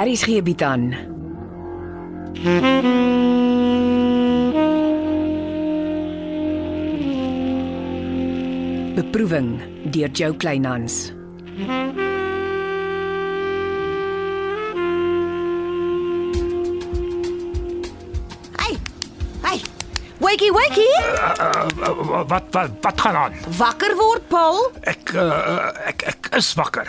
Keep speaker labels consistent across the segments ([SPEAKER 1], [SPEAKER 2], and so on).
[SPEAKER 1] Aries gee bied aan. Beproeving deur Jo Kleinhans.
[SPEAKER 2] Hey. Hey. Wakey, wakey.
[SPEAKER 3] Wat wat wat gaan aan?
[SPEAKER 2] Wakker word, Paul.
[SPEAKER 3] Ek uh, ek ek is wakker.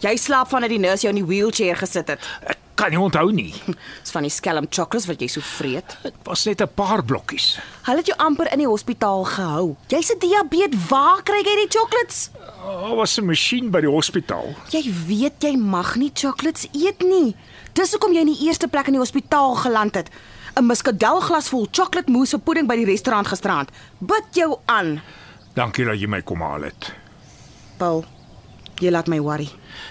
[SPEAKER 2] Jy slaap vandat die nurse jou in die wheelchair gesit het.
[SPEAKER 3] Ek kan nie onthou nie.
[SPEAKER 2] Dis van die skelm chocolates wat jy so vreet.
[SPEAKER 3] Dit was net 'n paar blokkies.
[SPEAKER 2] Hulle het jou amper in die hospitaal gehou. Jy's 'n diabeet. Waar kry jy die chocolates?
[SPEAKER 3] Daar was 'n masjien by die hospitaal.
[SPEAKER 2] Jy weet jy mag nie chocolates eet nie. Dis hoekom jy in die eerste plek in die hospitaal geland het. 'n Muskadelglas vol chocolate mousse pudding by die restaurant gisterand. Bid jou aan,
[SPEAKER 3] Dankie dat jy my kom haal het.
[SPEAKER 2] Paul. Jy laat my worry.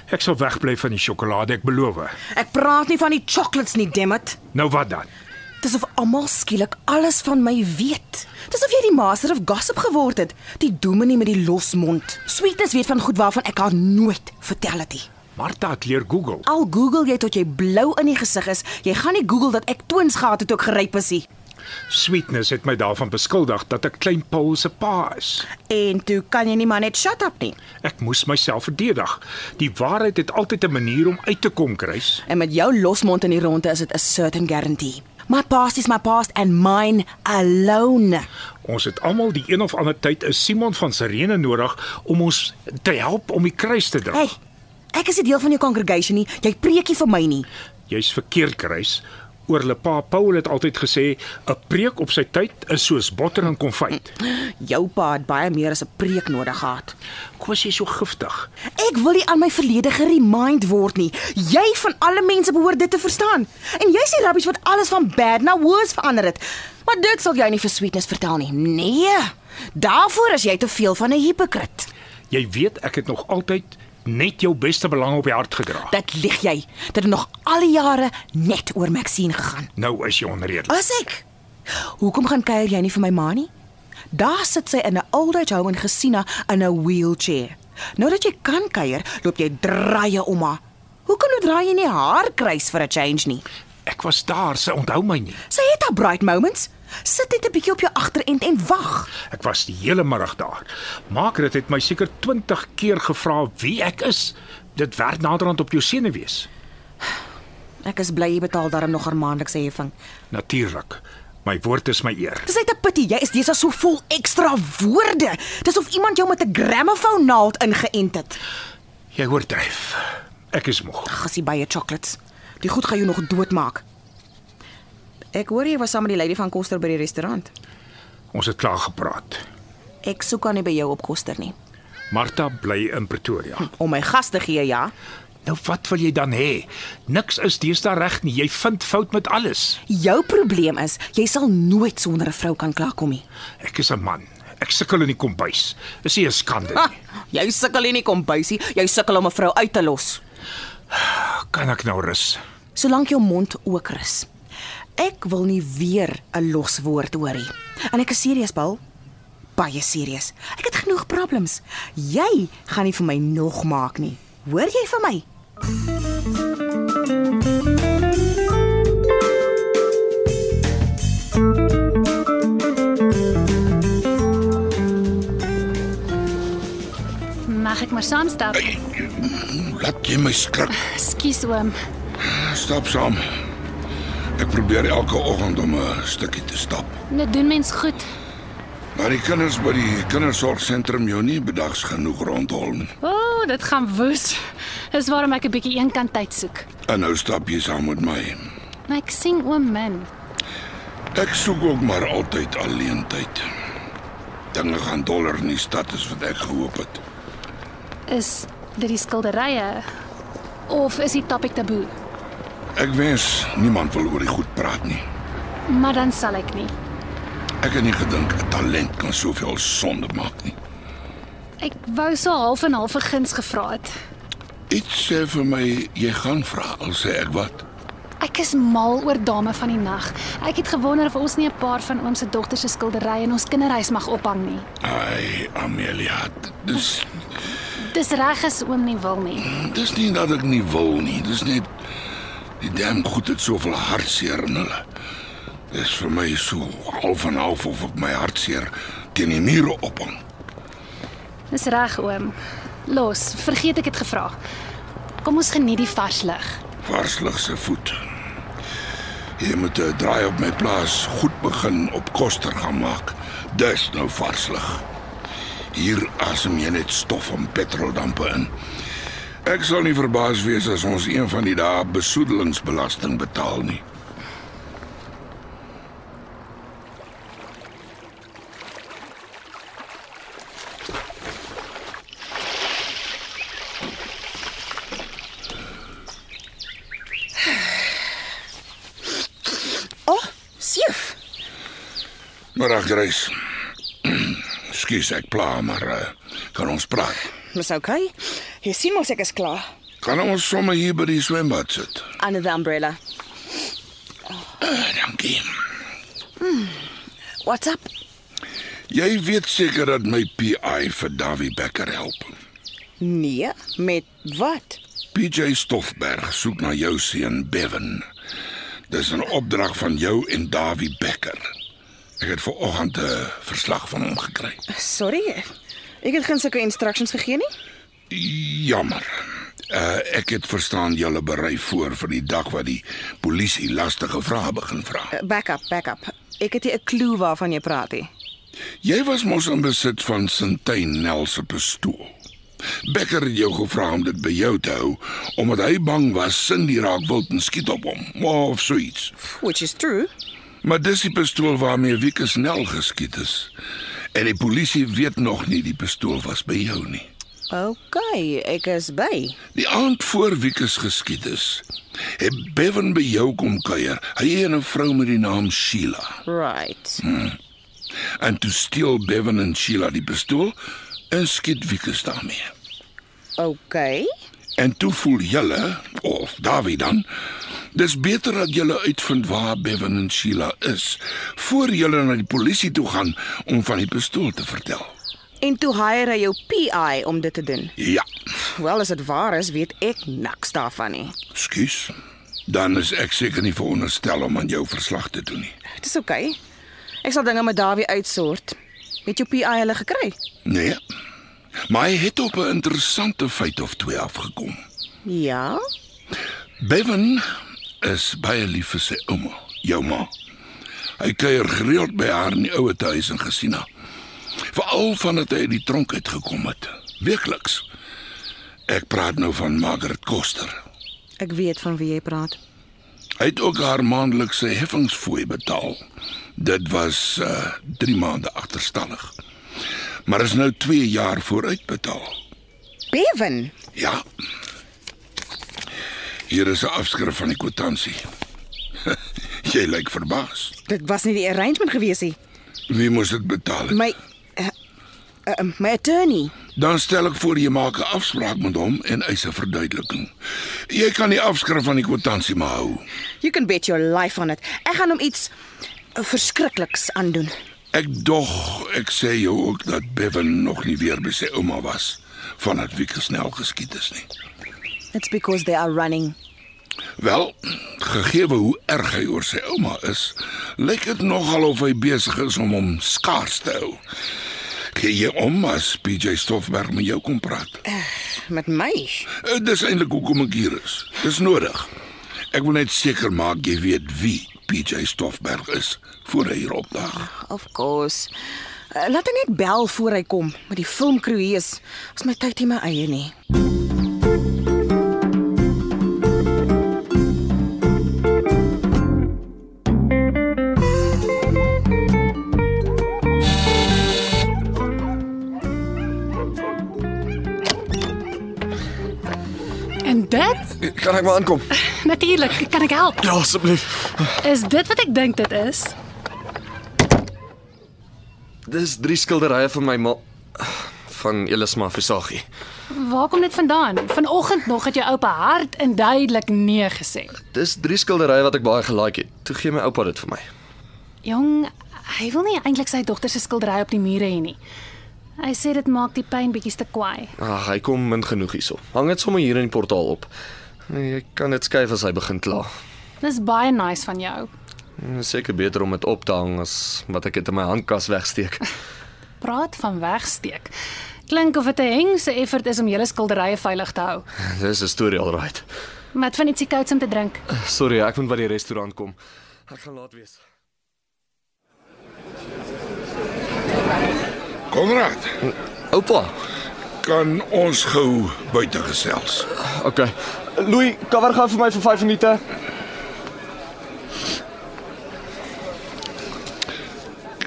[SPEAKER 3] Ek sal wegbly van die sjokolade, ek beloof.
[SPEAKER 2] Ek praat nie van die chocolates nie, Demet.
[SPEAKER 3] Nou wat dan?
[SPEAKER 2] Dis of almal skielik alles van my weet. Dis of jy die master of gossip geword het. Die dominee met die losmond. Sweetness weet van goed waarvan ek haar nooit vertel het nie.
[SPEAKER 3] Martha het leer Google.
[SPEAKER 2] Al Google jy tot jy blou in die gesig is, jy gaan nie Google dat ek toons gehad het ook geryp is nie.
[SPEAKER 3] Sweetness het my daarvan beskuldig dat ek klein Paul se pa is.
[SPEAKER 2] En toe kan jy nie maar net shut up nie.
[SPEAKER 3] Ek moes myself verdedig. Die waarheid het altyd 'n manier om uit te kom, Chris.
[SPEAKER 2] En met jou losmond in die ronde is dit 'n certain guarantee. My past is my past and mine alone.
[SPEAKER 3] Ons het almal die een of ander tyd 'n Simon van Sirene nodig om ons te help om die kruis te dra.
[SPEAKER 2] Hey, ek is nie deel van jou congregation nie. Jy preekie vir my nie.
[SPEAKER 3] Jy's verkeerd, Chris. Oor hulle pa Paul het altyd gesê 'n preek op sy tyd is soos botter en konfyt.
[SPEAKER 2] Jou pa het baie meer as 'n preek nodig gehad.
[SPEAKER 3] Kom as jy so giftig.
[SPEAKER 2] Ek wil nie aan my verlede geremind word nie. Jy van alle mense behoort dit te verstaan. En jy's die rabbies wat alles van bad na worse verander het. Maar dit sal jy nie vir sweetness vertel nie. Nee. Daarvoor is jy te veel van 'n hipokrit.
[SPEAKER 3] Jy weet ek het nog altyd net jou beste belang op die hart gedra.
[SPEAKER 2] Dat lieg jy. Dit het nog al die jare net oor Maxine gegaan.
[SPEAKER 3] Nou is jy onredelik.
[SPEAKER 2] As ek. Hoekom gaan kuier jy nie vir my ma nie? Daar sit sy in 'n old age home in Gesina in 'n wheelchair. Nou dat jy kan kuier, loop jy draaie om haar. Hoekom nou draai jy nie haar kruis vir 'n change nie?
[SPEAKER 3] Ek was daar, sy onthou my nie.
[SPEAKER 2] Sy het haar bright moments. Sit net 'n bietjie op jou agterend en wag.
[SPEAKER 3] Ek was die hele middag daar. Maakrit het my seker 20 keer gevra wie ek is. Dit werk naderhand op jou senuwees.
[SPEAKER 2] Ek is bly jy betaal darm nog haar maandelikse heffing.
[SPEAKER 3] Natuurlik. My woord is my eer.
[SPEAKER 2] Dis net 'n pity, jy is deesdae so vol ekstra woorde. Dis of iemand jou met 'n gramofoon naald ingeënt het.
[SPEAKER 3] Jy oordryf. Ek is moeg.
[SPEAKER 2] Gassie baie chocolates. Die goed gaan jou nog doodmaak. Ek hoor jy was saam met die lady van Koster by die restaurant.
[SPEAKER 3] Ons het klaar gepraat.
[SPEAKER 2] Ek soek aan nie by jou op Koster nie.
[SPEAKER 3] Martha bly in Pretoria.
[SPEAKER 2] Om my gas te gee, ja.
[SPEAKER 3] Hm, Nou wat wil jy dan hê? Niks is deesdae reg nie. Jy vind fout met alles.
[SPEAKER 2] Jou probleem is, jy sal nooit sonder 'n vrou kan klaarkom nie.
[SPEAKER 3] Ek is 'n man. Ek sukkel in die kombuis. Is nie 'n skande
[SPEAKER 2] Ha,
[SPEAKER 3] nie.
[SPEAKER 2] jy sukkel nie in die kombuisie, jy sukkel om 'n vrou uit te los.
[SPEAKER 3] Kan ek nou rus?
[SPEAKER 2] Solank jou mond ook rus. Ek wil nie weer 'n los woord hoor nie. En ek is serieus, Paul. Baie serieus. Ek het genoeg problems. Jy gaan nie vir my nog maak nie. Hoor jy vir my?
[SPEAKER 4] Mag ek maar saamstap?
[SPEAKER 5] Laat jy my skrik.
[SPEAKER 4] Skus oom.
[SPEAKER 5] Stap saam. Ek probeer elke oggend om 'n stukkie te stap.
[SPEAKER 4] Net Nou doen mens goed.
[SPEAKER 5] Maar die kinders by die kindersorgsentrum jou nie bedags genoeg rondhol nie.
[SPEAKER 4] O, oh, dit gaan woes. Dis waarom ek 'n bietjie eenkant tyd soek.
[SPEAKER 5] En nou stap jy saam met my.
[SPEAKER 4] Maar ek sien oom min.
[SPEAKER 5] Ek soek ook maar altyd alleen tyd. Dinge gaan doller in die stad as wat ek gehoop het.
[SPEAKER 4] Is dit die skilderye of is dit topic taboe?
[SPEAKER 5] Ek wens niemand wil oor die goed praat nie.
[SPEAKER 4] Maar dan sal ek nie.
[SPEAKER 5] Ek het nie gedink 'n talent kan soveel sonde maak nie.
[SPEAKER 4] Ek wou so half en half vergins gevra het.
[SPEAKER 5] Iets sê vir my jy gaan vra al sê ek wat.
[SPEAKER 4] Ek is mal oor dame van die nag. Ek het gewonder of ons nie 'n paar van oom se dogters se skilderye in ons kinderhuis mag ophang nie.
[SPEAKER 5] Ai, Amelia, dis
[SPEAKER 4] Dis reg as oom nie wil nie.
[SPEAKER 5] Dis nie dat ek nie wil nie, dis net Die dam goed het soveel hartseer in hulle. Dis vir my so half en half of ek my hartseer teen die mure ophang.
[SPEAKER 4] Dis reg, oom. Los, vergeet ek het gevra. Kom ons geniet die vars lug.
[SPEAKER 5] Varslig se voet. Jy moet 'n draai op my plaas goed begin op koster gaan maak. Dis nou varslig. Hier asem jy net stof en petroldampe in. Ek sal nie verbaas wees as ons een van die dae besoedelingsbelasting betaal nie.
[SPEAKER 2] O, oh, seef.
[SPEAKER 5] Middagreis. Skus ek pla, maar uh, kan ons praat?
[SPEAKER 2] Dis okay. Jy sien mos ek is klaar.
[SPEAKER 5] Kan ons sommer hier by die swembad sit?
[SPEAKER 2] Under the umbrella.
[SPEAKER 5] Uh, dankie.
[SPEAKER 2] What's up?
[SPEAKER 5] Jy weet seker dat my PI vir Davie Becker help.
[SPEAKER 2] Nee, met wat?
[SPEAKER 5] PJ Stoffberg soek na jou seun Bevan. Dis 'n opdrag van jou en Dawie Becker. Ek het ver oggend 'n verslag van hom gekry.
[SPEAKER 2] Sorry. Ek het geen sulke instructions gegee nie.
[SPEAKER 5] Jammer. Uh, ek het verstaan julle berei voor vir die dag wat die polisie lastige vrae begin vra.
[SPEAKER 2] Back up, back up. Ek het nie 'n klou waarvan jy praat nie.
[SPEAKER 5] Jy was mos in besit van Sintyn Nel se pistool. Becker het jou gevra om dit by jou te hou omdat hy bang was Cindy raak wild en skiet op hom of so iets.
[SPEAKER 2] Which is true.
[SPEAKER 5] Maar dis die pistool waarmee Wieke snel geskiet is. En die polisie weet nog nie die pistool was by jou nie.
[SPEAKER 2] Okay, ek is by.
[SPEAKER 5] Die aand voor Wieke geskiet is, het Bevan by jou kom kuier. Hy en 'n vrou met die naam Sheila.
[SPEAKER 2] Right.
[SPEAKER 5] En toe steel Bevan en Sheila die pistool en skiet Wieke daarmee.
[SPEAKER 2] Okay.
[SPEAKER 5] En toe voel julle of Dawie dan Dis beter dat julle uitvind waar Bevan en Sheila is voor julle na die polisie toe gaan om van die pistool te vertel.
[SPEAKER 2] En toe hire hy jou PI om dit te doen.
[SPEAKER 5] Ja.
[SPEAKER 2] Wel as dit waar is, weet ek niks daarvan nie.
[SPEAKER 5] Skus. Dan is ek seker nie veronderstel om aan jou verslag te doen nie.
[SPEAKER 2] Dis okay. Ek sal dinge met Dawie uitsort. Het jou PI hulle gekry?
[SPEAKER 5] Nee. Maar hy het op 'n interessante feit of twee afgekom.
[SPEAKER 2] Ja.
[SPEAKER 5] Bevan is baie lief vir sy ouma, jou ma. Hy kuier gereeld by haar in die ouer huis in Gesina. Veral vandat hy uit die tronk uitgekom het. Weekliks. Ek praat nou van Margaret Koster.
[SPEAKER 2] Ek weet van wie jy praat.
[SPEAKER 5] Hy het ook haar maandelikse heffingsfooi betaal. Dit was uh 3 maande agterstallig. Maar is nou 2 jaar vooruit betaal.
[SPEAKER 2] Bevan.
[SPEAKER 5] Ja. Hier is 'n afskrif van die kwitansie. Jy lyk verbaas.
[SPEAKER 2] Dit was nie die arrangement gewees nie.
[SPEAKER 5] Wie moes dit betaal? het?
[SPEAKER 2] My uh, uh, my attorney.
[SPEAKER 5] Dan stel ek voor jy maak 'n afspraak met hom en eis 'n verduideliking. Jy kan die afskrif van die kwitansie maar hou.
[SPEAKER 2] You can bet your life on it. Ek gaan hom iets eh, verskrikliks aandoen.
[SPEAKER 5] Ek dog ek sê jou ook dat Bevan nog nie weer by sy ouma was vandat Wieke snel geskiet is nie.
[SPEAKER 2] It's because they are running.
[SPEAKER 5] Wel, gegee hoe erg hy oor sy ouma is, lyk dit nogal of hy besig is om hom skaars te hou. Gee jy om as PJ Stoffberg met jou kom praat?
[SPEAKER 2] Met my.
[SPEAKER 5] Eh, Dis eintlik hoekom ek hier is. Dis nodig. Ek wil net seker maak jy weet wie PJ Stoffberg is voor hy hier opdag.
[SPEAKER 2] Of course. Uh, laat hy net bel voor hy kom, maar die filmkroeg hier is is my tyd nie my eie nie.
[SPEAKER 4] En dit?
[SPEAKER 6] Kan ek maar aankom?
[SPEAKER 4] Natuurlik, kan ek help?
[SPEAKER 6] Ja, asseblief.
[SPEAKER 4] Is dit wat ek dink dit is?
[SPEAKER 6] Dis drie skilderye van my ma van Elisma Versagie.
[SPEAKER 4] Waar kom dit vandaan? Vanoggend nog het jou oupa hard en duidelik nee gesê.
[SPEAKER 6] Dis drie skilderye wat ek baie gelike het. Toe gee my oupa dit vir my.
[SPEAKER 4] Jong, hy wil nie eintlik sy dogter se skildery op die mure hê nie. Hy sê dit maak die pyn bietjie te kwaai.
[SPEAKER 6] Ah, Ag, hy kom min genoeg hierso. Hang dit sommer hier in die portaal op. Nee, Jy kan dit skuif as hy begin kla.
[SPEAKER 4] Dis baie nice van jou.
[SPEAKER 6] Dit is Seker beter om dit op te hang as wat ek dit in my handkas wegsteek.
[SPEAKER 4] Praat van wegsteek. Klink of dit 'n hengse effort is om julle skilderye veilig te hou.
[SPEAKER 6] Dis 'n storie alraai.
[SPEAKER 4] Met van ietsie kouds om te drink.
[SPEAKER 6] Sorry, ek moet by die restaurant kom. Ek gaan laat wees.
[SPEAKER 5] Konrad,
[SPEAKER 6] Oupa.
[SPEAKER 5] kan ons gou buite gesels?
[SPEAKER 6] Okay. Louis, cover gaan vir my vir 5 minute.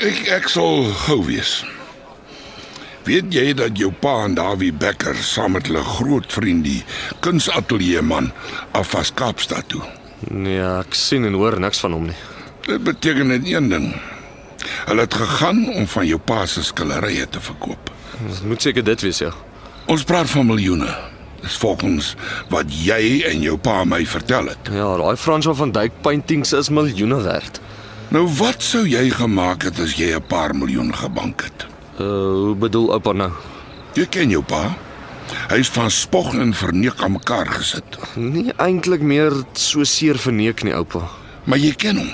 [SPEAKER 5] Ek ek sal gou wees. Weet jy dat jou pa en Dawie Becker saam met hulle groot vriend die kunsatelier man af van Kaapstad toe.
[SPEAKER 6] Nee, ek sien en hoor niks van hom nie.
[SPEAKER 5] Dit beteken net een ding. Hulle het gegaan om van jou pa se skilderye te verkoop.
[SPEAKER 6] Dit moet seker dit wees, ja.
[SPEAKER 5] Ons praat van miljoene. Dis volgens wat jy en jou pa my vertel het.
[SPEAKER 6] Ja, daai François van Dyk paintings is miljoene werd.
[SPEAKER 5] Nou wat sou jy gemaak het as jy 'n paar miljoen gebank het?
[SPEAKER 6] Uh, hoe bedoel oupa nou?
[SPEAKER 5] Jy ken jou pa. Hy's van spog en verneek aan mekaar gesit.
[SPEAKER 6] Nie eintlik meer so seer verneek nie, oupa.
[SPEAKER 5] Maar jy ken hom.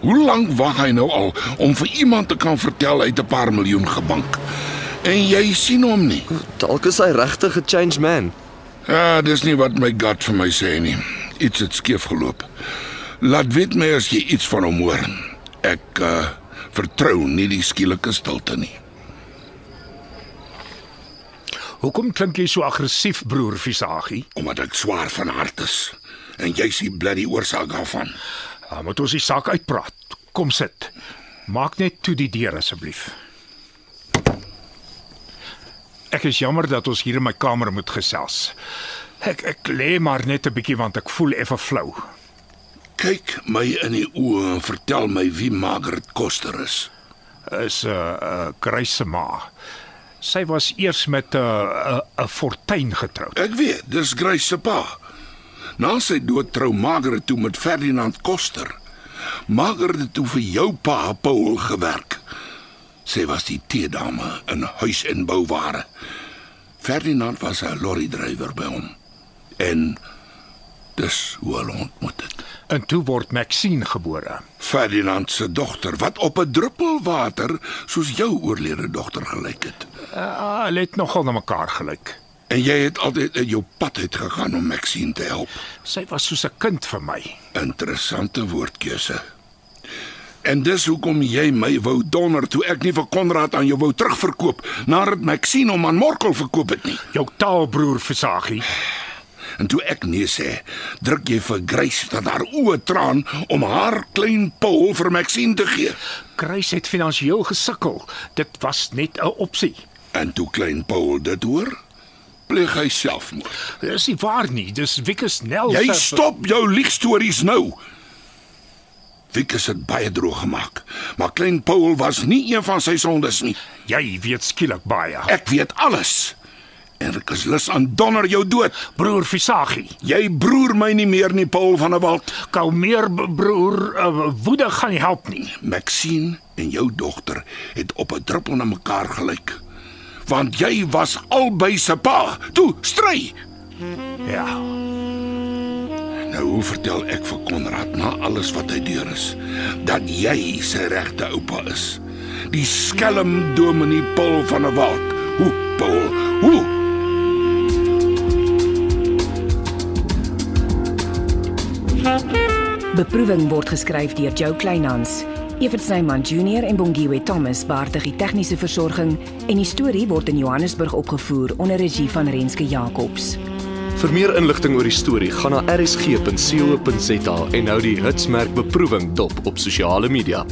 [SPEAKER 5] Hoe lank wag hy nou al om vir iemand te kan vertel uit 'n paar miljoen gebank? En jy sien hom nie.
[SPEAKER 6] Dalk is hy regtig 'n change man.
[SPEAKER 5] Ja, dis nie wat my gut vir my sê nie. Iets het skeef geloop. Laat weet my as jy iets van hom hoor. Ek uh, vertrou nie die skielike stilte nie.
[SPEAKER 3] Hoekom klink jy so aggressief, broer Visagie?
[SPEAKER 5] Omdat ek swaar van hart is en jy sien bloody oorsaak daarvan.
[SPEAKER 3] Ah, moet ons die saak uitpraat. Kom sit. Maak net toe die deur asseblief. Ek is jammer dat ons hier in my kamer moet gesels. Ek ek lê maar net 'n bietjie want ek voel effe flou.
[SPEAKER 5] Kyk my in die oë en vertel my wie Margaret Koster is.
[SPEAKER 3] Is 'n uh, uh, kruise ma. Sy was eers met 'n uh, 'n uh, fortuin getroud.
[SPEAKER 5] Ek weet, dis Grace se pa. Na sy dood trou Margaret toe met Ferdinand Koster. Margaret het toe vir jou pa Paul gewerk. Sy was die teedame in huis en bouware. Ferdinand was 'n lorrydrywer by hom. En dis hoe hulle ontmoet het.
[SPEAKER 3] En toe word Maxine gebore.
[SPEAKER 5] Ferdinand se dogter wat op 'n druppel water soos jou oorlede dogter gelyk het.
[SPEAKER 3] Uh, hulle het nogal na mekaar gelyk.
[SPEAKER 5] En jy het altyd uit jou pad uit gegaan om Maxine te help.
[SPEAKER 3] Sy was soos 'n kind vir my.
[SPEAKER 5] Interessante woordkeuse. En dis hoekom jy my wou donder toe ek nie vir Konrad aan jou wou terugverkoop nadat Maxine hom aan Morkel verkoop het nie.
[SPEAKER 3] Jou taalbroer Visagie.
[SPEAKER 5] En toe ek nee sê, druk jy vir Grace dat haar oë traan om haar klein Paul vir Maxine te gee.
[SPEAKER 3] Kruis het finansiëel gesukkel. Dit was net 'n opsie.
[SPEAKER 5] En toe klein Paul dit hoor, pleeg hy selfmoord.
[SPEAKER 3] Dis nie waar nie. Dis Wikus Nel.
[SPEAKER 5] Jy
[SPEAKER 3] se-
[SPEAKER 5] stop jou liegstories nou. Wikus het baie droog gemaak, maar klein Paul was nie een van sy sondes nie.
[SPEAKER 3] Jy weet skielik baie.
[SPEAKER 5] Ek weet alles. En ek is lus aan donder jou dood.
[SPEAKER 3] Broer Visagie,
[SPEAKER 5] Jy broer my nie meer nie, Paul van der Walt.
[SPEAKER 3] kalmeer b- broer, uh, woede gaan nie help nie.
[SPEAKER 5] Maxine en jou dogter het op 'n druppel na mekaar gelyk. Want jy was albei se pa. Toe, stry.
[SPEAKER 3] Ja.
[SPEAKER 5] Nou hoe vertel ek vir Konrad na alles wat hy deur is dat jy sy regte oupa is. Die skelm dominee Paul van der Walt. Hoe, Paul? Hoe?
[SPEAKER 1] Beproeving word geskryf deur Jo Kleinhans. Evert Snyman Junior en Bongwe Thomas baartig die tegniese versorging en die storie word in Johannesburg opgevoer onder regie van Renske Jacobs.
[SPEAKER 6] Vir meer inligting oor die storie, gaan na rsg.co.za en hou die hitsmerk beproewing dop op sosiale media.